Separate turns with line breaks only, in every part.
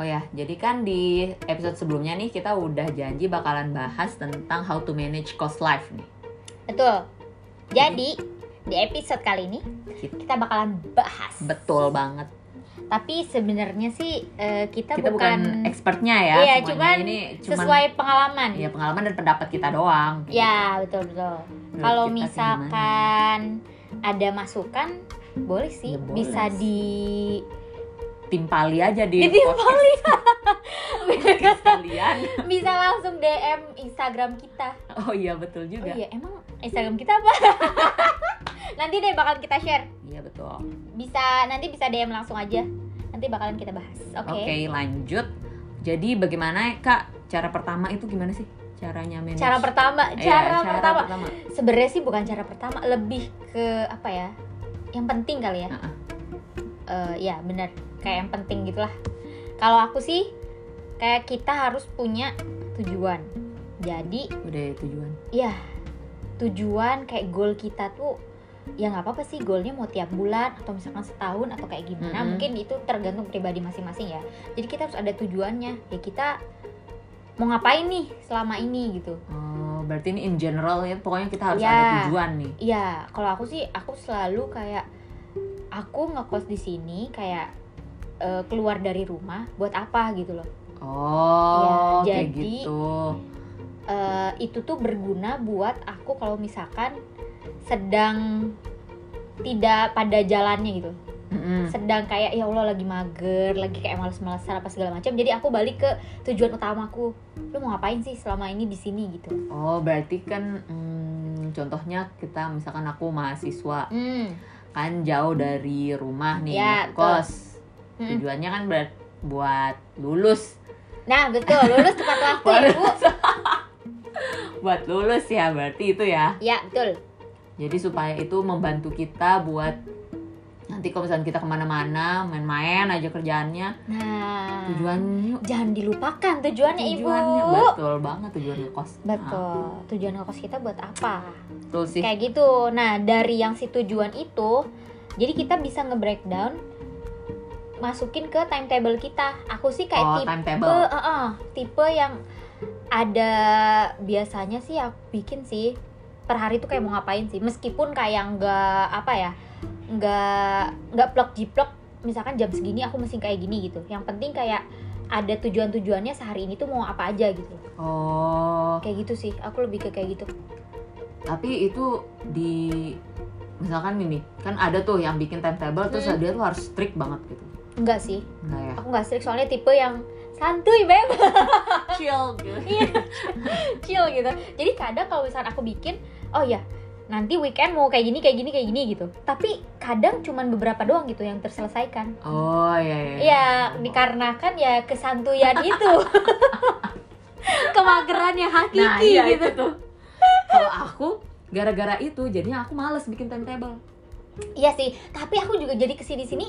Oh ya, jadi kan di episode sebelumnya nih kita udah janji bakalan bahas tentang how to manage cost life nih.
Betul. Jadi, di episode kali ini kita bakalan bahas.
Betul banget.
Tapi sebenarnya sih eh, kita,
Kita bukan, expertnya ya.
Iya,
semuanya.
cuman
ini cuman
sesuai pengalaman.
ya pengalaman dan pendapat kita doang.
Ya, betul betul.
Menurut
Kalau
kita sih
misalkan ada masukan, boleh
Ya,
sih
boleh
bisa
sih.
di
gimana? timpali aja di
ditimpali.
podcast kalian.
bisa langsung DM Instagram kita.
Oh iya betul
Oh
juga.
iya, emang Instagram kita apa? nanti deh bakal kita share.
Iya, betul.
Bisa nanti bisa DM langsung aja. Nanti bakalan kita bahas. Oke.
Oke, lanjut. Jadi bagaimana Kak cara pertama itu gimana sih caranya manage?
Cara pertama,
Iya,
cara pertama. Sebenarnya sih bukan cara pertama, lebih ke apa ya? Yang penting kali ya.
Heeh.
Eh, ya benar, kayak yang penting gitulah. Kalau aku sih kayak kita harus punya tujuan. Jadi
Udah tujuan.
ya tujuan kayak goal kita tuh ya nggak apa-apa sih goalnya mau tiap bulan atau misalkan setahun atau kayak gimana
Mm-mm.
mungkin itu tergantung pribadi masing-masing ya jadi kita harus ada tujuannya ya kita mau ngapain nih selama ini gitu
Oh, berarti ini in general ya, pokoknya kita harus
Ya.
ada tujuan nih.
Iya, kalau aku sih aku selalu kayak aku ngekos di sini kayak eh, keluar dari rumah buat apa gitu loh.
Oh,
Ya,
kayak
jadi-
gitu.
Eh, itu tuh berguna buat aku kalau misalkan sedang tidak pada jalannya gitu.
Mm-mm.
Sedang kayak ya Allah lagi mager, lagi kayak males-malesan apa segala macam. Jadi aku balik ke tujuan utamaku. Lu mau ngapain sih selama ini di sini gitu.
Oh, berarti kan mm, contohnya kita misalkan aku mahasiswa
Hmm.
kan jauh dari rumah nih,
Ya,
kos.
Mm-mm.
Tujuannya kan ber- buat lulus,
Nah, betul. Lulus tepat waktu ya, Bu.
buat lulus ya berarti itu ya.
Ya, betul.
Jadi supaya itu membantu kita buat nanti kalau misalkan kita kemana-mana main-main aja kerjaannya
Nah,
tujuannya
jangan dilupakan tujuannya,
tujuannya
ibu
betul banget tujuan ngekos Ah,
betul tujuan ngekos kita buat apa
betul sih
kayak gitu nah dari yang si tujuan itu jadi kita bisa nge-breakdown masukin ke timetable kita aku sih kayak
Oh,
tipe
timetable.
eh, eh, tipe yang ada biasanya sih aku bikin sih per hari tuh kayak mau ngapain sih meskipun kayak nggak apa ya nggak nggak plok jiplok misalkan jam segini aku mesti kayak gini gitu yang penting kayak ada tujuan-tujuannya sehari ini tuh mau apa aja gitu
oh
kayak gitu sih aku lebih ke kayak gitu
tapi itu di misalkan ini kan ada tuh yang bikin timetable terus
Hmm.
dia tuh harus strict banget gitu
enggak sih
enggak ya
aku nggak strict soalnya tipe yang santuy beb
chill
chill gitu jadi kadang kalau misalkan aku bikin oh ya nanti weekend mau kayak gini kayak gini kayak gini gitu tapi kadang cuman beberapa doang gitu yang terselesaikan
oh iya iya
ya dikarenakan ya kesantuyan itu kemageran yang hakiki
nah iya
gitu
itu tuh kalau aku gara-gara itu jadinya aku males bikin timetable
iya sih tapi aku juga jadi kesini sini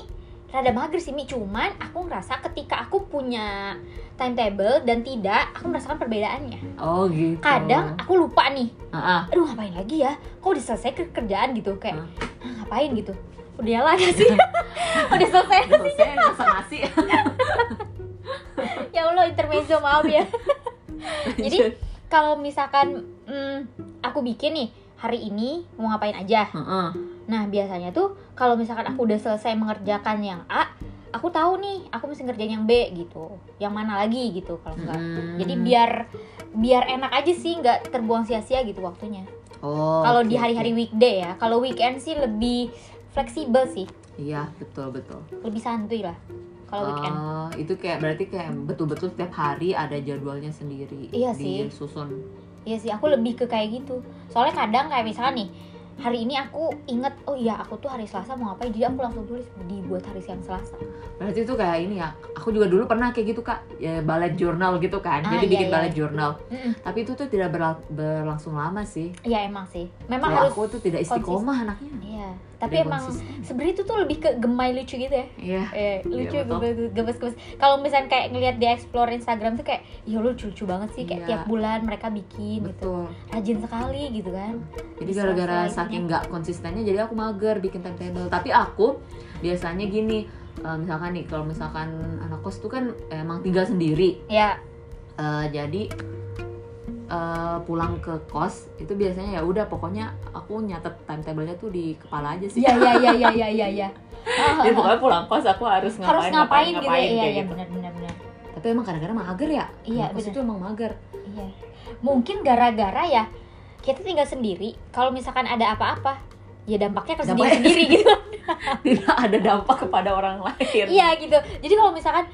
rada mager sih Mi cuman aku ngerasa ketika aku punya timetable dan tidak aku merasakan perbedaannya
oh gitu
kadang aku lupa nih
Ah, ah.
aduh ngapain lagi ya kok udah selesai ke- kerjaan gitu kayak
Hah?
"Hah, ngapain gitu udah nyala gak sih udah selesai
selesai masak nasi
ya allah intermezzo maaf ya Jadi- kalau misalkan mm, aku bikin nih hari ini mau ngapain aja
Heeh.
nah biasanya tuh kalau misalkan aku udah selesai mengerjakan yang A aku tahu nih aku mesti ngerjain yang B gitu yang mana lagi gitu kalau enggak
Mm.
jadi biar biar enak aja sih nggak terbuang sia-sia gitu waktunya
Oh,
kalau
oke,
di hari-hari
oke.
weekday ya kalau weekend sih lebih fleksibel sih
iya betul betul
lebih santuy lah kalau weekend
Oh, itu kayak berarti kayak betul-betul setiap hari ada jadwalnya sendiri
Iya
di
sih.
susun
iya sih aku lebih ke kayak gitu soalnya kadang kayak misalnya nih hari ini aku inget oh iya aku tuh hari Selasa mau ngapain jadi aku langsung tulis dibuat hari siang Selasa
berarti itu kayak ini ya aku juga dulu pernah kayak gitu kak ya, ballet journal gitu kan
Ah,
jadi
iya,
bikin
iya.
ballet journal
Mm-mm.
tapi itu tuh tidak berla- berlangsung lama sih
iya emang sih memang
Kalau
harus
Ya, aku tuh tidak istiqomah anaknya
iya tapi
Tidak
emang
konsisten.
sebenarnya itu tuh lebih ke gemai lucu gitu ya
iya
eh, lucu
Iya, betul.
gemes gemes kalau misalnya kayak ngelihat di explore Instagram tuh kayak ya lucu lucu banget sih kayak
Iya.
tiap bulan mereka bikin gitu
betul
rajin sekali gitu kan
jadi
Bisa
gara-gara
offline-nya.
saking nggak konsistennya jadi aku mager bikin timetable tapi aku biasanya gini eh, misalkan nih kalau misalkan anak kos tuh kan emang tinggal sendiri
ya
Eh, jadi eh, pulang ke kos itu biasanya ya udah pokoknya aku nyatet timetable-nya tuh di kepala aja sih
ya ya ya ya ya ya ya Ah,
jadi pokoknya pulang kos aku harus ngapain
harus ngapain, gitu ya iya
kayak
iya
gitu.
benar benar benar
tapi emang kadang-kadang mager ya
Iya,
anak kos
bener.
itu emang mager
iya mungkin gara-gara ya kita tinggal sendiri kalau misalkan ada apa-apa ya dampaknya ke sendiri
Dampaknya-
sendiri gitu
tidak ada dampak kepada orang lain
iya gitu jadi kalau misalkan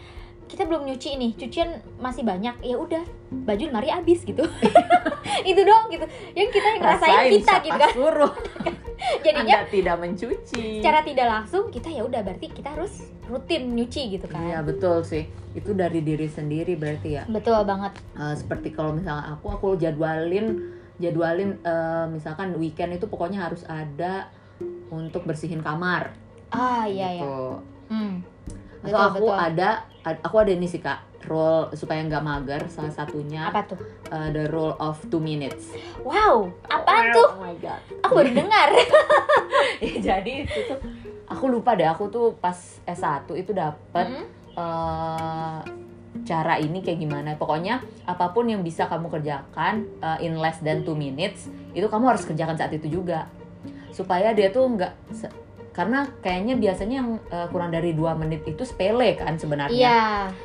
kita belum nyuci nih cucian masih banyak ya udah baju lemari habis gitu itu doang gitu yang kita yang ngerasain
rasain
kita
siapa
gitu kan
suruh
jadinya
anda tidak mencuci
secara tidak langsung kita ya udah berarti kita harus rutin nyuci gitu kan
Iya betul sih itu dari diri sendiri berarti ya
betul banget
Eh, seperti kalau misalnya aku aku jadwalin jadwalin eh, misalkan weekend itu pokoknya harus ada untuk bersihin kamar
ah iya ya
gitu.
hmm.
Atau
Betul,
aku
betul.
ada ad- aku ada ini sih kak rule supaya nggak mager salah satunya
apa tuh
eh, the rule of two minutes.
wow
Oh,
apaan tuh
Oh my god.
aku baru dengar
Iya. Ya, jadi itu tuh aku lupa deh aku tuh pas S1 itu dapet
Hmm?
eh cara ini kayak gimana pokoknya apapun yang bisa kamu kerjakan eh, in less than two minutes itu kamu harus kerjakan saat itu juga supaya dia tuh nggak se- karena kayaknya biasanya yang eh, kurang dari dua menit itu sepele kan sebenarnya
iya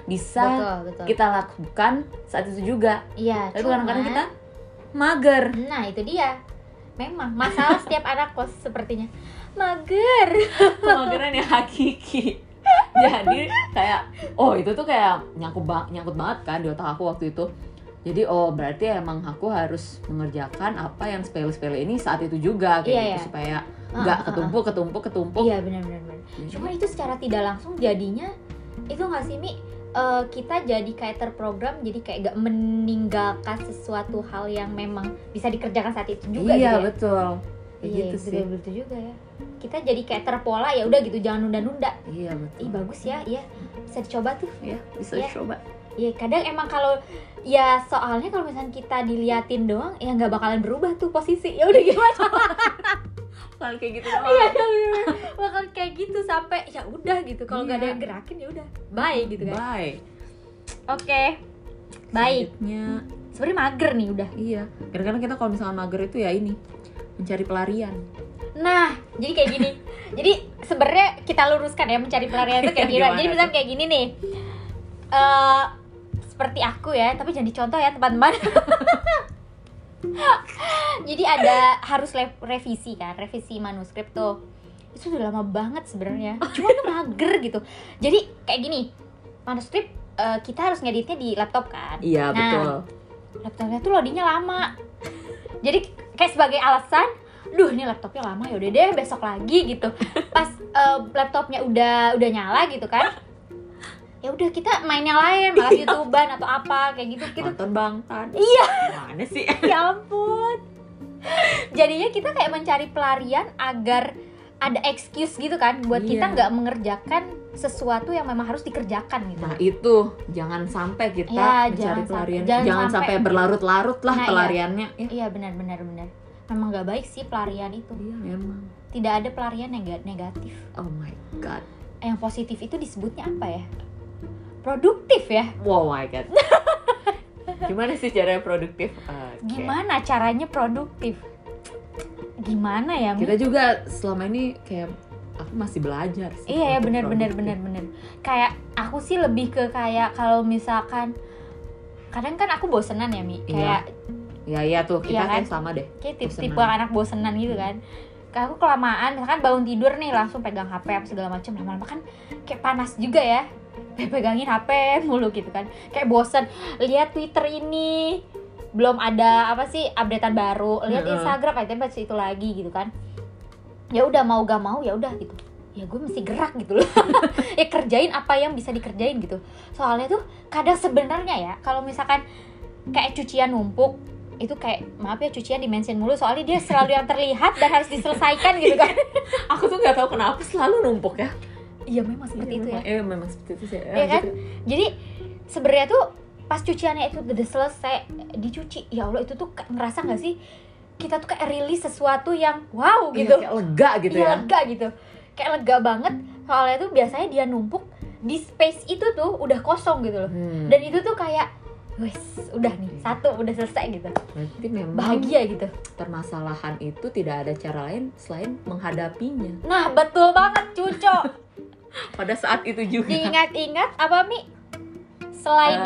bisa
betul betul
kita lakukan saat itu juga
iya
Gitu. tapi
cuman-
kadang-kadang kita mager
nah itu dia memang masalah setiap anak kos sepertinya mager
kemageran yang hakiki jadi kayak oh itu tuh kayak nyangkut ba- nyangkut banget kan di otak aku waktu itu jadi oh berarti emang aku harus mengerjakan apa yang sepele-sepele ini saat itu juga kayak
Iya,
gitu
iya.
supaya
Ah,
nggak
ah, ah.
ketumpuk ketumpuk ketumpuk Gitu.
iya benar benar benar cuma itu secara tidak langsung jadinya itu nggak sih mi Eh, kita jadi kayak terprogram jadi kayak gak meninggalkan sesuatu hal yang memang bisa dikerjakan saat itu juga
iya
gitu ya.
betul kayak
Iya,
gitu
betul,
sih
betul juga ya kita jadi kayak terpola ya udah gitu jangan nunda-nunda
iya betul
ih bagus ya iya bisa dicoba tuh
ya bisa
Iya.
coba
Iya kadang emang kalau ya soalnya kalau misalnya kita diliatin doang ya nggak bakalan berubah tuh posisi ya udah gimana
kalau kayak gitu doang.
ya udah bakal kayak gitu sampai ya udah gitu kalau nggak ada
Iya.
yang gerakin ya udah bye gitu kan
bye
oke baik
Selanjutnya,
sebenarnya mager nih udah
iya kadang-kadang kita kalau misalnya mager itu ya ini mencari pelarian
nah jadi kayak gini jadi sebenarnya kita luruskan ya mencari pelarian itu kayak gini
Iya, Gimana
jadi misalnya kayak gini nih Eh seperti aku ya tapi jangan dicontoh ya teman-teman jadi ada harus le- revisi kan revisi manuskrip tuh itu udah lama banget sebenarnya cuma tuh mager gitu jadi kayak gini manuskrip eh, kita harus ngeditnya di laptop kan
iya
Nah,
betul
laptopnya tuh loadingnya lama jadi kayak sebagai alasan duh ini laptopnya lama ya udah deh besok lagi gitu pas eh, laptopnya udah udah nyala gitu kan ya udah kita main yang lain malah youtuber atau apa kayak gitu gitu
nonton bangtan iya mana sih
ya ampun jadinya kita kayak mencari pelarian agar ada excuse gitu kan buat
Iya.
kita nggak mengerjakan sesuatu yang memang harus dikerjakan gitu
Nah itu jangan sampai kita
Ya,
mencari
jangan
pelarian,
sampai- jangan
jangan, sampai,
sampai.
berlarut-larut lah
Nah, iya.
pelariannya. Ya.
iya benar benar benar memang nggak baik sih pelarian itu
Iya memang.
tidak ada pelarian nega- negatif
Oh my god.
Eh, yang positif itu disebutnya apa ya? Produktif ya.
Wow my god. Gimana sih caranya produktif? Oke.
Gimana caranya produktif? Gimana ya? Mi?
Kita juga selama ini kayak aku masih belajar sih.
Iya ya
untuk
benar benar
produktif.
benar benar. Kayak aku sih lebih ke kayak kalau misalkan kadang kan aku bosenan ya Mi.
Iya.
Kayak
Ya ya tuh kita
Iya kan?
kayak sama deh.
kayak tipe
Bosenan.
tipe anak bosenan gitu kan. Kayak aku kelamaan, misalkan bangun tidur nih langsung pegang HP apa segala macam lama-lama kan kayak panas juga ya. Pegangin HP mulu gitu kan. Kayak bosen lihat Twitter ini belum ada apa sih updatean baru lihat
Heeh.
Instagram itu masih itu lagi gitu kan ya udah mau gak mau ya udah gitu ya gue mesti gerak gitu loh ya kerjain apa yang bisa dikerjain gitu soalnya tuh kadang sebenarnya ya kalau misalkan kayak cucian numpuk itu kayak maaf ya cucian di mention mulu soalnya dia selalu yang terlihat dan harus diselesaikan gitu kan
Aku tuh nggak tahu kenapa selalu numpuk ya.
iya memang
Iya,
seperti itu ya
memang, Iya memang seperti itu sih. gitu.
Iya kan? jadi sebenarnya tuh pas cuciannya itu udah selesai dicuci ya allah itu tuh kayak ngerasa nggak sih kita tuh kayak rilis sesuatu yang wow
Gitu.
gitu
kayak lega gitu
Iya,
ya.
lega gitu kayak lega banget soalnya tuh biasanya dia numpuk di space itu tuh udah kosong gitu loh
Hmm,
dan itu tuh kayak wes udah nih satu udah selesai gitu
berarti memang
bahagia gitu
permasalahan itu tidak ada cara lain selain menghadapinya
nah betul banget cuco
pada saat itu juga.
diingat-ingat apa mi selain
Eh,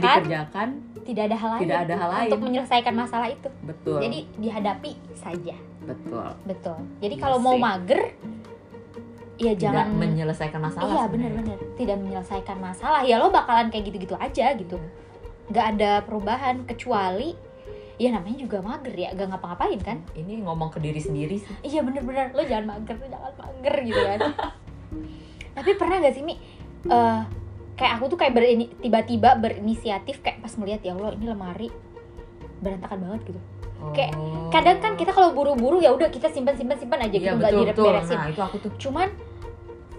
selain dikerjakan,
tidak ada hal lain
tidak ada hal lain.
untuk menyelesaikan masalah itu
Betul.
jadi dihadapi saja
betul.
betul jadi
Iya
kalau mau
sih.
mager ya
Tidak
jangan
menyelesaikan masalah.
iya
sebenarnya.
bener-bener tidak menyelesaikan masalah ya lo bakalan kayak gitu-gitu aja gitu
Iya.
nggak ada perubahan kecuali ya namanya juga mager ya gak ngapa-ngapain kan
Ini ngomong ke diri sendiri sih.
iya bener-bener lo jangan mager lo jangan mager gitu kan tapi pernah gak sih mi eh, kayak aku tuh kayak berini tiba-tiba berinisiatif kayak pas ngeliat ya Allah ini lemari berantakan banget gitu Kayak,
Oh.
kadang kan kita kalau buru-buru ya udah kita simpan simpan simpan aja
Iya,
gitu nggak
betul, betul.
direp-beresin
Nah, itu aku tuh
cuman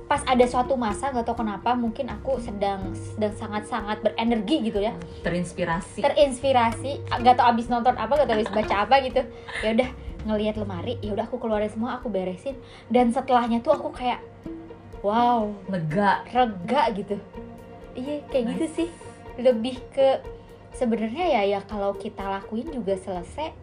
pas ada suatu masa gak tau kenapa mungkin aku sedang sedang sangat-sangat berenergi gitu ya
terinspirasi.
terinspirasi gak tau abis nonton apa gak tau abis baca apa gitu ya udah ngelihat lemari ya udah aku keluarin semua aku beresin dan setelahnya tuh aku kayak wow
Lega.
rega gitu iya kayak gitu sih lebih ke sebenarnya ya ya kalau kita lakuin juga selesai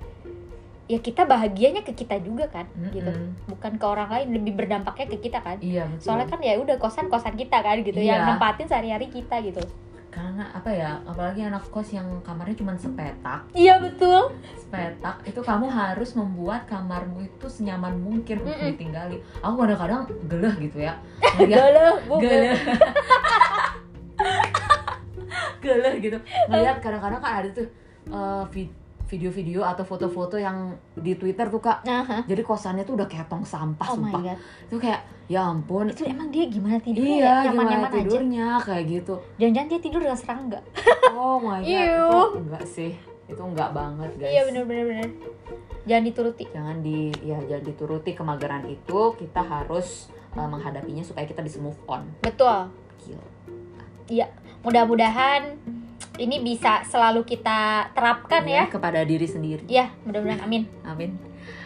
ya kita bahagianya ke kita juga kan gitu
Mm-mm.
bukan ke orang lain lebih berdampaknya ke kita kan
Iya betul.
soalnya kan ya udah kosan kosan kita kan gitu yang
Iya.
nempatin sehari-hari kita gitu
karena apa ya apalagi anak kos yang kamarnya cuma sepetak
iya betul
sepetak itu kamu harus membuat kamarmu itu senyaman mungkin untuk
Mm-mm.
ditinggali aku kadang-kadang geleh gitu ya
ya.
ngeliat
galau bu
geleh geleh gitu ngeliat kadang-kadang kan ada tuh eh, vid- video-video atau foto-foto yang di Twitter tuh kak
Aha.
jadi kosannya tuh udah kayak tong sampah
Nah, oh my
sumpah
god
itu kayak ya ampun
itu emang dia gimana tidurnya ya?
iya
nyaman-nyaman
gimana
aja
tidurnya kayak gitu
jangan-jangan dia tidur dengan serangga
Oh my god,
Ew.
itu enggak sih, itu enggak banget guys.
iya bener-bener bener. jangan dituruti
Jangan di, ya jangan dituruti kemageran itu. Kita harus uh, menghadapinya supaya kita bisa move on.
betul
Gila.
mudah-mudahan ini bisa selalu kita terapkan ya
Kepada diri sendiri.
ya mudah-mudahan amin
Amin.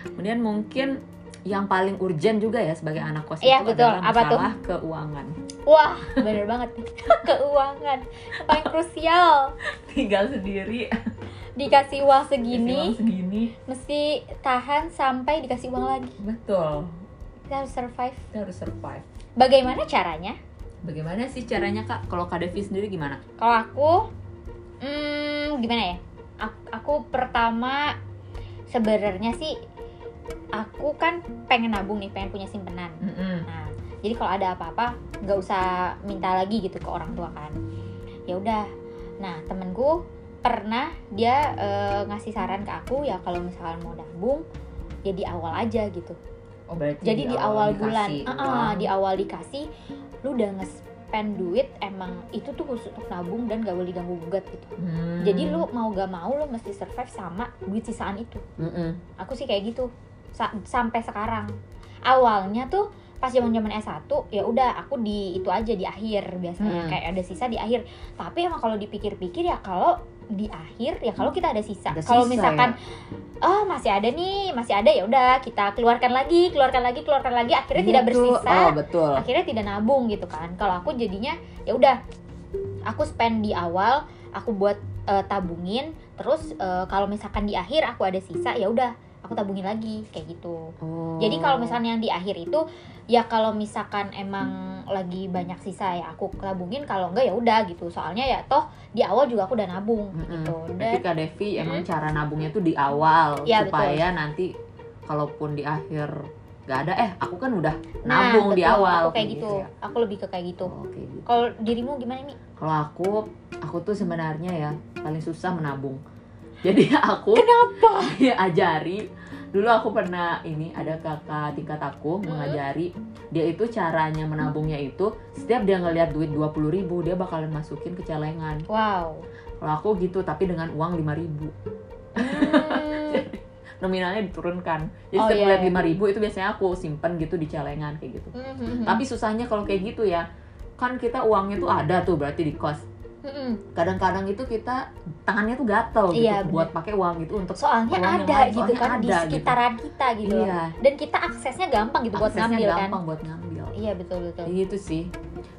Kemudian mungkin yang paling urgent juga ya sebagai anak kos
Iya,
itu
betul.
adalah
Apa tuh?
masalah keuangan.
wah bener banget keuangan yang paling krusial
Tinggal sendiri.
dikasih uang
uang
segini
Segini.
mesti tahan sampai dikasih uang lagi
Betul.
kita harus survive
Kita harus survive.
bagaimana caranya
Bagaimana sih caranya kak? Kalau Kak Devi sendiri gimana?
kalau aku hmm, gimana ya aku, aku pertama sebenarnya sih aku kan pengen nabung nih pengen punya simpenan
Mm-mm.
nah jadi kalau ada apa-apa nggak usah minta lagi gitu ke orang tua kan ya udah nah temenku pernah dia eh, ngasih saran ke aku ya kalau misalkan mau nabung ya di awal aja gitu
Oh berarti
jadi di awal, bulan
dikasih
Ah, ah,
uang.
di awal dikasih lu udah nge-spend duit emang itu tuh khusus untuk nabung dan gak boleh ganggu gugat gitu
Hmm.
jadi lu mau gak mau lu mesti survive sama duit sisaan itu
Mm-mm.
aku sih kayak gitu Sa- sampai sekarang awalnya tuh pas zaman zaman S1 ya udah aku di itu aja di akhir biasanya
Hmm.
kayak ada sisa di akhir tapi emang kalau dipikir-pikir ya kalau di akhir ya kalau kita ada sisa
Ada
kalau
sisa ya?
misalkan oh masih ada nih masih ada ya udah kita keluarkan lagi keluarkan lagi keluarkan lagi akhirnya
Iya
tidak
tuh.
bersisa
Oh, betul.
akhirnya tidak nabung gitu kan kalau aku jadinya ya udah aku spend di awal aku buat eh, tabungin terus eh, kalau misalkan di akhir aku ada sisa ya udah aku tabungin lagi kayak gitu jadi
Oh.
kalau misalnya yang di akhir itu ya kalau misalkan emang lagi banyak sisa ya aku tabungin kalau enggak ya udah gitu soalnya ya toh di awal juga aku udah nabung
Mm-mm.
gitu
Hmm, berarti
dan
Kak Devi emang cara nabungnya tuh di awal
Hmm. Iya,
supaya nanti kalaupun di akhir nggak ada eh aku kan udah
nah,
nabung di
betul,
awal
aku kayak gitu
ya.
aku lebih ke kayak gitu
Oh, kayak gitu.
kalau dirimu gimana mi
Kalau aku aku tuh sebenarnya ya paling susah menabung. Jadi aku
kenapa
ajari dulu aku pernah ini ada kakak tingkat aku
Mhm.
mengajari dia itu caranya menabungnya itu setiap dia ngelihat duit 20.000 ribu dia bakalan masukin ke celengan
wow
Kalau aku gitu, tapi dengan uang 5000
Hmm.
Nominalnya diturunkan. Jadi
Oh,
setiap
iya,
ngeliat
iya.
5000 itu biasanya aku simpen gitu di celengan kayak
Hmm,
gitu. Tapi susahnya kalau kayak gitu ya, kan kita uangnya tuh ada tuh berarti di kos.
Mm-mm.
Kadang-kadang itu kita tangannya tuh gatel gitu
Iya, bener.
buat pakai uang itu untuk
soalnya
Uang yang
ada
lain,
gitu
soalnya
kan di
ada gitu.
sekitaran kita gitu loh.
Iya.
dan kita aksesnya gampang gitu buat
aksesnya
ngambil kan
gampang buat ngambil.
iya betul betul
gitu sih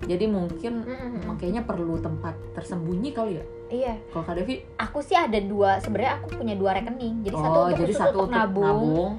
jadi mungkin
Mm-mm.
makanya perlu tempat tersembunyi kali ya
iya
kalau Kak Devi
aku sih ada dua sebenarnya aku punya dua rekening jadi satu
oh
untuk
jadi
khusus
satu
untuk nabung,
nabung.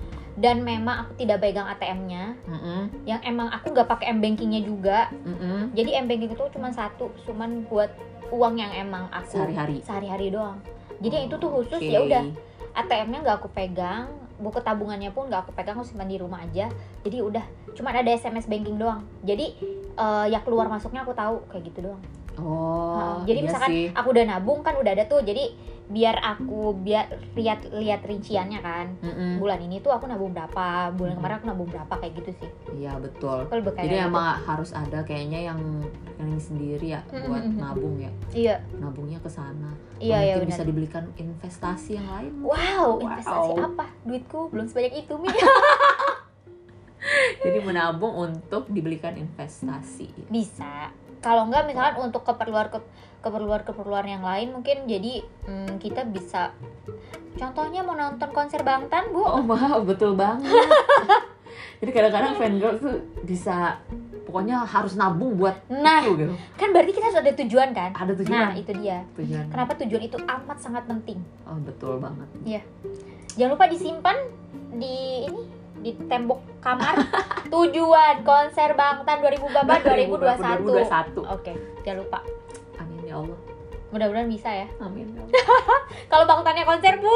dan memang aku tidak pegang ATM-nya
Mm-mm,
yang emang aku nggak pakai m bankingnya juga
mm-mm.
jadi m banking itu cuma satu cuman buat uang yang emang aku
sehari-hari
sehari-hari doang jadi yang itu tuh khusus
Oke.
ya udah ATM-nya nggak aku pegang buku tabungannya pun nggak aku pegang aku simpan di rumah aja jadi udah cuman ada SMS banking doang jadi eh, ya keluar masuknya aku tahu kayak gitu doang
oh
Nah, jadi
iya
misalkan
sih.
aku udah nabung kan udah ada tuh jadi biar aku biar lihat lihat rinciannya kan
Mm-mm.
bulan ini tuh aku nabung berapa bulan
Hmm.
kemarin aku nabung berapa kayak gitu sih
iya betul
aku lebih kayak
jadi
gitu.
emang harus ada kayaknya yang rekening sendiri ya buat
Mm-mm.
nabung ya
iya
nabungnya ke sana
iya iya
mungkin
benar
bisa dibelikan investasi yang lain
wow investasi
Wow.
apa duitku belum sebanyak itu mi
jadi menabung untuk dibelikan investasi
bisa kalau enggak misalkan untuk keperluan ke- keperluan keperluan yang lain mungkin jadi mm, kita bisa contohnya mau nonton konser Bangtan bu
oh wow betul banget jadi kadang-kadang fangirl tuh bisa pokoknya harus nabung buat
nah
itu gitu
kan berarti kita sudah ada tujuan kan
ada
nah
tujuan
itu dia
tujuan
kenapa tujuan itu amat sangat penting
oh betul banget
jangan lupa disimpan di ini di tembok kamar tujuan konser Bangtan
Nah,
2024 2021
2021
Oke, jangan lupa.
amin ya Allah
Mudah-mudahan bisa ya.
amin ya Allah
Kalau Bangtannya konser, Bu.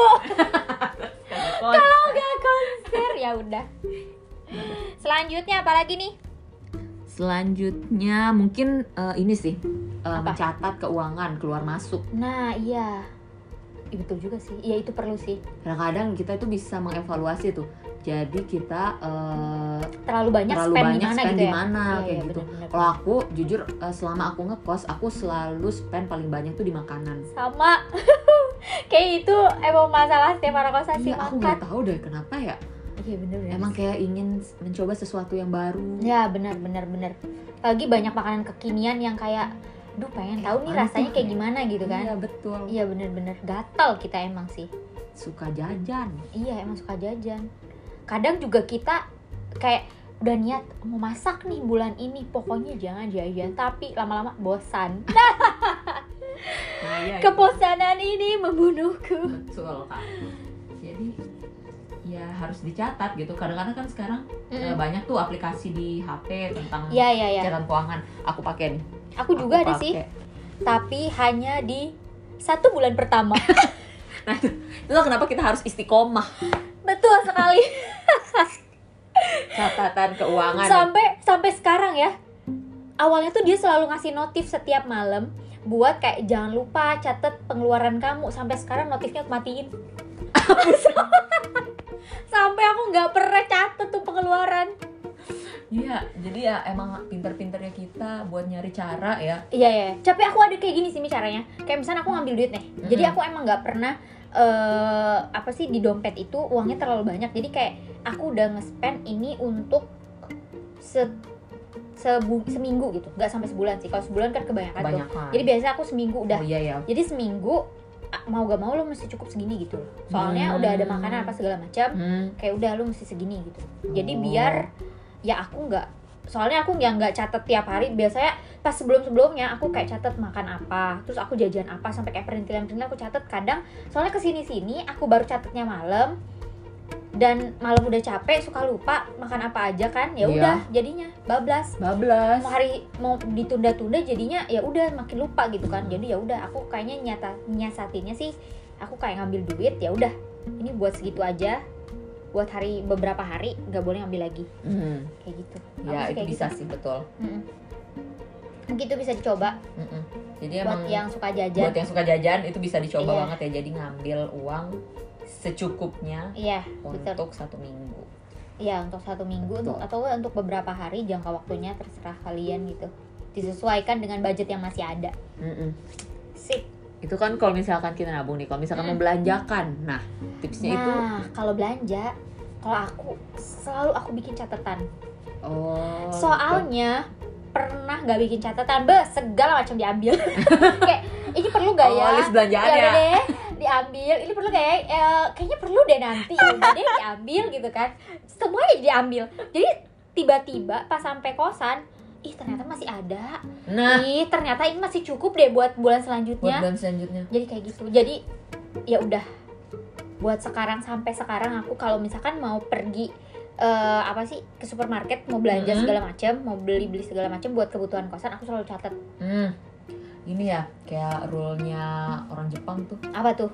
Kalau
Konser ya udah. Selanjutnya apa lagi nih?
Selanjutnya mungkin eh, ini sih eh,
Apa?
mencatat keuangan keluar masuk.
Nah, iya. Ih, betul juga sih. Iya, itu perlu sih.
Kadang-kadang kita itu bisa mengevaluasi tuh. Jadi kita eh,
Terlalu banyak
terlalu
spend di
banyak
mana
spend
gitu
di
ya.
mana
Iya,
kayak
iya,
gitu.
bener-bener.
Kalau aku jujur eh, selama aku ngekos aku selalu spend paling banyak tuh di makanan.
Sama. Kayak itu emang masalah setiap orang kosan sih
Iya aku
makan.
nggak tahu deh kenapa ya.
Iya, bener ya.
Emang kayak ingin mencoba sesuatu yang baru.
Ya, benar benar benar. Lagi banyak makanan kekinian yang kayak duh
Eh,
pengen tahu nih
apaan
rasanya
tuh?
kayak gimana gitu kan.
Iya betul.
Iya, bener-bener gatal kita emang sih.
Suka jajan.
Iya emang suka jajan. Kadang juga kita kayak udah niat mau masak nih bulan ini pokoknya jangan jajan tapi lama-lama bosan.
Nah, iya, itu.
Kebosanan ini membunuhku.
Betul kak. Jadi ya harus dicatat gitu. Kadang-kadang kan sekarang Eh, banyak tuh aplikasi di HP tentang
Iya iya iya.
catatan keuangan. Aku pakai nih.
Aku juga
Aku
ada
pakai.
sih, tapi hanya di satu bulan pertama.
Nah, itu, itu kenapa kita harus istiqomah
Betul sekali.
catatan keuangan.
Sampai sampai sekarang ya. Awalnya tuh dia selalu ngasih notif setiap malam buat kayak jangan lupa catat pengeluaran kamu sampai sekarang notifnya aku matiin. sampai aku nggak pernah catat tuh pengeluaran.
Iya, jadi ya emang pinter-pinternya kita buat nyari cara ya.
Iya ya, tapi aku ada kayak gini sih Mi, caranya. Kayak misalnya aku ngambil duit nih, jadi aku emang nggak pernah eh apa sih di dompet itu uangnya terlalu banyak. Jadi kayak aku udah nge-spend ini untuk se sebu- seminggu gitu, nggak sampai sebulan sih. Kalau sebulan kan kebanyakan tuh.
Kebanyakan.
Jadi biasanya aku seminggu udah.
Oh iya ya.
Jadi seminggu a- mau gak mau lo mesti cukup segini gitu. loh. Soalnya
Hmm.
udah ada makanan apa segala macam,
Hmm.
kayak udah lo mesti segini gitu. Jadi
Oh.
biar ya aku nggak soalnya aku nggak nggak catat tiap hari biasanya pas sebelum sebelumnya aku kayak catat makan apa terus aku jajan apa sampai kayak perintilan perintilan aku catat kadang soalnya kesini sini aku baru catatnya malam dan malam udah capek suka lupa makan apa aja kan
Iya.
ya udah jadinya bablas
bablas.
mau hari mau ditunda-tunda jadinya ya udah makin lupa gitu kan jadi ya udah aku kayaknya nyata nyiasatinya sih aku kayak ngambil duit ya udah ini buat segitu aja buat hari beberapa hari nggak boleh ngambil lagi
Hmm.
kayak gitu Aku
Ya
sih
itu
kayak
bisa
gitu.
sih betul.
Mm-mm. mungkin itu Gitu bisa dicoba
Mm-mm. Jadi
buat
emang
yang suka jajan
buat yang suka jajan itu bisa dicoba
Iya.
banget ya. Jadi ngambil uang secukupnya
iya betul
untuk satu minggu.
iya untuk satu minggu
Betul.
untuk, atau enggak untuk beberapa hari jangka waktunya terserah kalian gitu disesuaikan dengan budget yang masih ada
Mm-mm.
sip
itu kan kalau misalkan kita nabung nih kalau misalkan
Mm.
membelanjakan nah tipsnya itu
nah kalau belanja kalau aku selalu aku bikin catatan
oh gitu.
soalnya pernah nggak bikin catatan be segala macam diambil kayak ini perlu
gitu.
gak
oh,
ya
list belanjaan
ya
ya,
udah deh diambil ini perlu "Eh, kayak kayaknya perlu deh nanti ya udah deh diambil gitu kan semuanya diambil jadi tiba-tiba pas sampai kosan ih ternyata masih ada
nah
ih ternyata ini masih cukup deh buat bulan
buat
selanjutnya
bulan selanjutnya
jadi kayak gitu jadi ya udah buat sekarang sampai sekarang aku kalau misalkan mau pergi eh, apa sih ke supermarket mau belanja
Mhm.
segala macam mau beli beli segala macam buat kebutuhan kosan aku selalu catat
hmm ini ya kayak rule nya orang Jepang tuh
apa tuh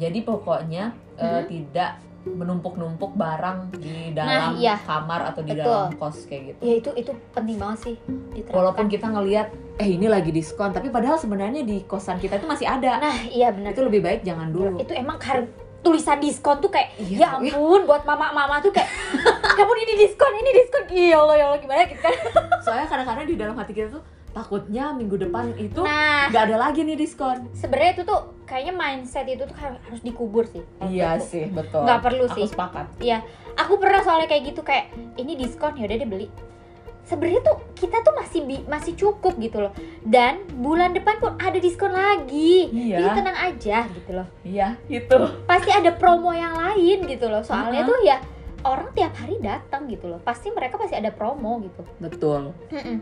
jadi pokoknya eh,
Mhm.
tidak menumpuk-numpuk barang di dalam
iya.
kamar atau di
Betul.
dalam kos kayak gitu
ya itu itu penting banget sih diterapkan
walaupun kita ngelihat eh ini lagi diskon tapi padahal sebenarnya di kosan kita itu masih ada
nah iya benar
itu lebih baik jangan dulu
itu emang kar tulisan diskon tuh kayak
Iya,
ya ampun buat mama-mama tuh kayak ya ampun ini diskon ini diskon ya Allah ya Allah gimana gitu kan
soalnya kadang-kadang di dalam hati kita tuh takutnya minggu depan itu
nah
nggak ada lagi nih diskon
sebenarnya itu tuh kayaknya mindset itu tuh har- harus dikubur sih
iya
Menurutku.
sih betul
nggak perlu
aku
sih
sepakat
aku pernah soalnya kayak gitu kayak ini diskon yaudah deh beli sebenarnya tuh kita tuh masih bi- masih cukup gitu loh dan bulan depan pun ada diskon lagi jadi
iya
tenang aja gitu loh
iya itu
pasti ada promo yang lain gitu loh soalnya
Uh-huh.
tuh ya orang tiap hari datang gitu loh pasti mereka pasti ada promo gitu
betul
Mm-mm.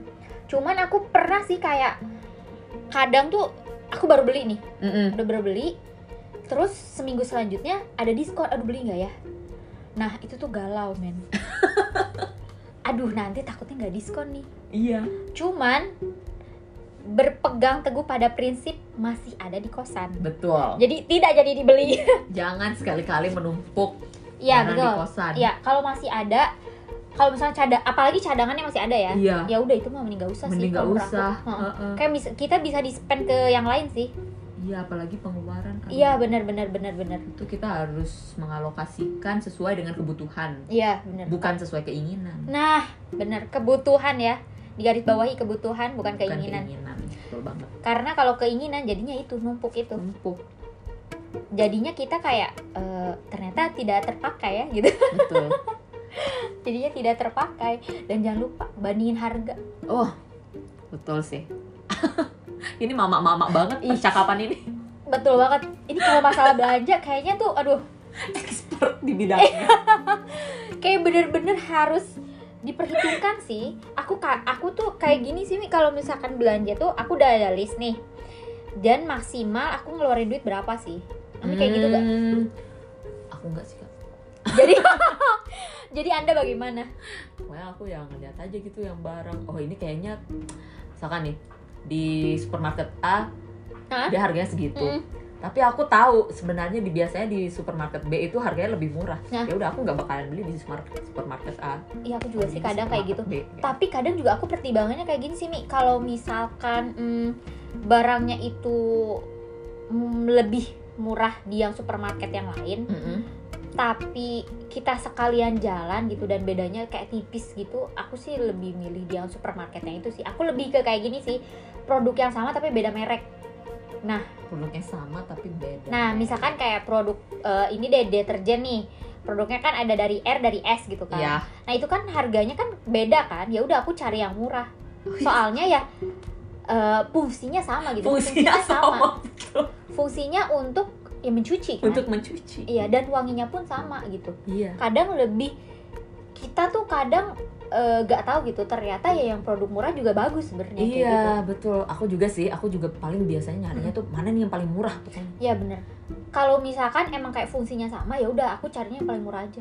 cuman aku pernah sih kayak kadang tuh aku baru beli nih
Mm-mm.
udah baru beli terus seminggu selanjutnya ada diskon aduh beli nggak ya nah itu tuh galau men aduh nanti takutnya nggak diskon nih
iya
cuman berpegang teguh pada prinsip masih ada di kosan
betul
jadi tidak jadi dibeli
Ya, jangan sekali-kali menumpuk
ya
barang Iya, di
betul
kosan
ya kalau masih ada kalau misalnya cadang apalagi cadangannya masih ada ya
Iya.
ya udah itu mah mending gak usah sih
mending nggak
kalau menurut aku.
usah
Heeh.
Heeh.
kayak bisa- kita bisa di spend ke yang lain sih
iya apalagi pengeluaran kan
iya benar benar benar benar
itu kita harus mengalokasikan sesuai dengan kebutuhan
iya benar
bukan sesuai keinginan
Nah, benar kebutuhan ya. Di garis bawahi kebutuhan bukan
bukan
keinginan.
keinginan betul banget
Karena kalau keinginan jadinya itu numpuk itu.
numpuk
Jadinya kita kayak eh, ternyata tidak terpakai ya gitu.
betul
jadinya tidak terpakai dan jangan lupa bandingin harga.
Oh, betul sih. ini mama-mama banget
Ih.
percakapan ini.
Betul banget. Ini kalau masalah belanja kayaknya tuh aduh,
Expert di bidangnya.
kayak bener-bener harus diperhitungkan sih aku ka- aku tuh kayak gini sih Mi, kalau misalkan belanja tuh aku udah ada list nih dan maksimal aku ngeluarin duit berapa sih Kamu kayak gitu gak?
Hmm, Aku nggak sih, Kak.
jadi jadi anda bagaimana
Pokoknya aku yang ngeliat aja gitu yang barang. Oh, ini kayaknya misalkan nih di supermarket A
Hah?
dia harganya segitu.
Mm.
Tapi aku tahu sebenarnya di biasanya di supermarket B itu harganya lebih murah.
Nah.
Ya udah aku nggak bakalan beli di supermarket supermarket A.
Iya aku juga
Beli
sih
di
kadang kayak gitu.
supermarket B, ya.
Tapi kadang juga aku pertimbangannya kayak gini sih Mi, kalau misalkan mm, barangnya itu mm, lebih murah di yang supermarket yang lain,
Mm-mm.
tapi kita sekalian jalan gitu dan bedanya kayak tipis gitu, aku sih lebih milih di yang supermarketnya itu sih. Aku lebih ke kayak gini sih, produk yang sama tapi beda merek.
Produknya sama tapi beda.
Nah, misalkan kayak produk eh, ini deh deterjen nih. Produknya kan ada dari R dari S gitu kan.
ya.
Nah itu kan harganya kan beda kan? Ya udah aku cari yang murah.
Oh, iya.
Soalnya ya eh, fungsinya sama gitu.
Fungsinya sama
Fungsinya untuk ya mencuci kan.
untuk mencuci.
Iya dan wanginya pun sama gitu.
Iya.
Kadang lebih kita tuh kadang eh, gak tahu gitu ternyata ya yang produk murah juga bagus sebenarnya kayak
Iya
gitu.
betul. Aku juga sih. Aku juga paling biasanya nyarinya tuh mana nih yang paling murah pokoknya.
Iya bener. Kalau misalkan emang kayak fungsinya sama ya udah aku carinya yang paling murah aja.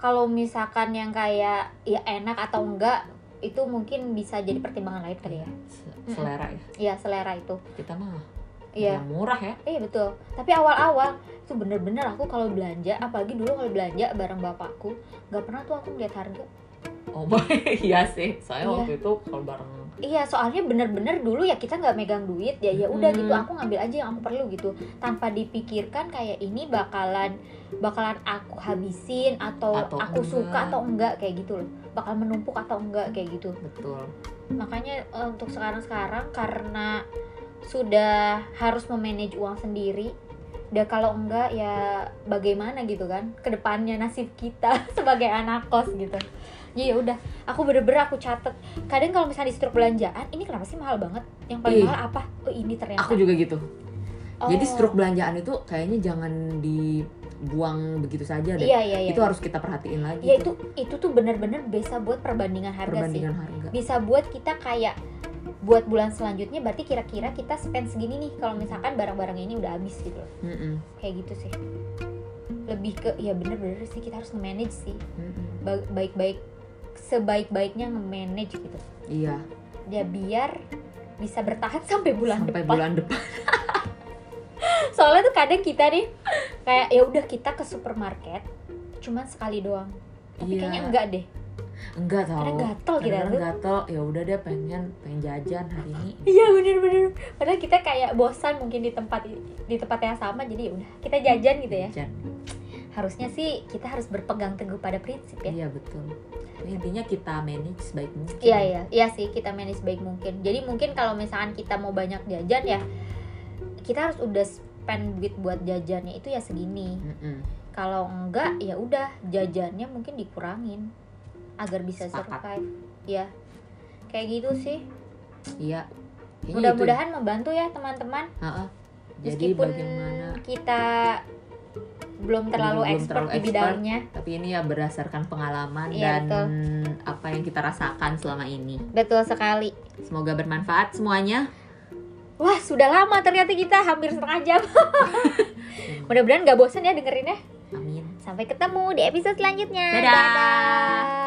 Kalau misalkan yang kayak ya enak atau enggak itu mungkin bisa jadi pertimbangan lain kali ya.
Se-
Mm-mm.
Selera ya.
Iya selera itu.
Kita mah
Iya.
yang murah ya.
Iya betul. Tapi awal-awal itu bener-bener aku kalau belanja, apalagi dulu kalau belanja bareng bapakku, nggak pernah tuh aku ngeliat harga.
Oh boy, iya sih. Saya
Iya.
waktu itu kalau bareng
Iya, soalnya bener-bener dulu ya kita nggak megang duit ya, ya udah
Hmm.
gitu aku ngambil aja yang aku perlu gitu, tanpa dipikirkan kayak ini bakalan bakalan aku habisin atau,
Atau
aku
enggak.
suka atau enggak kayak gitu loh, bakal menumpuk atau enggak kayak gitu.
betul.
Makanya eh, untuk sekarang-sekarang karena sudah harus memanage uang sendiri dan kalau enggak ya bagaimana gitu kan kedepannya nasib kita sebagai anak kos gitu ya ya udah aku bener-bener aku catet kadang kalau misalnya di struk belanjaan ini kenapa sih mahal banget yang paling
Ih.
mahal apa oh ini ternyata
Aku juga gitu. Iya. Jadi
Oh.
struk belanjaan itu kayaknya jangan dibuang begitu saja deh.
Iya iya iya.
Itu gitu. harus kita perhatiin lagi.
Ya itu itu tuh benar-benar bisa buat perbandingan harga
perbandingan harga.
sih. Bisa buat kita kayak buat bulan selanjutnya berarti kira-kira kita spend segini nih kalau misalkan barang-barang ini udah habis gitu loh.
Mm-mm,
Kayak gitu sih. Lebih ke ya bener-bener sih kita harus nge-manage sih.
mm-mm.
Ba- Baik-baik sebaik-baiknya nge-manage gitu.
Iya,
Ya biar bisa bertahan sampai bulan
sampai
depan.
bulan depan.
Soalnya tuh kadang kita nih kayak ya udah kita ke supermarket cuman sekali doang. Tapi
Iya. Oh,
kayaknya enggak deh.
Enggak tahu.
Karena gatel kita
Kadang-kadang
tuh.
gatel, ya udah deh pengen pengen jajan hari ini.
Iya bener-bener Padahal kita kayak bosan mungkin di tempat di tempat yang sama jadi ya udah kita jajan gitu ya.
Jajan.
Harusnya sih kita harus berpegang teguh pada prinsip ya.
Iya betul. Tapi Intinya kita manage sebaik mungkin.
Iya iya iya sih kita manage baik mungkin. Jadi mungkin kalau misalkan kita mau banyak jajan ya kita harus udah spend duit buat jajannya itu ya segini.
Mm-mm.
Kalau enggak ya udah jajannya mungkin dikurangin agar bisa
Sepakat.
survive. Ya kayak gitu sih.
Iya. Kayaknya itu.
Mudah-mudahan membantu ya teman-teman.
Ha-ha. Jadi
Meskipun
bagaimana?
kita belum terlalu
Belum
expert
terlalu
di
expert.
bidangnya,
Tapi ini ya berdasarkan pengalaman
Iya,
dan
betul.
apa yang kita rasakan selama ini.
betul sekali.
Semoga bermanfaat semuanya.
Wah, sudah lama ternyata kita hampir setengah jam. Mudah-mudahan nggak bosan ya dengerinnya.
Amin.
Sampai ketemu di episode selanjutnya.
Dadah.
Dadah.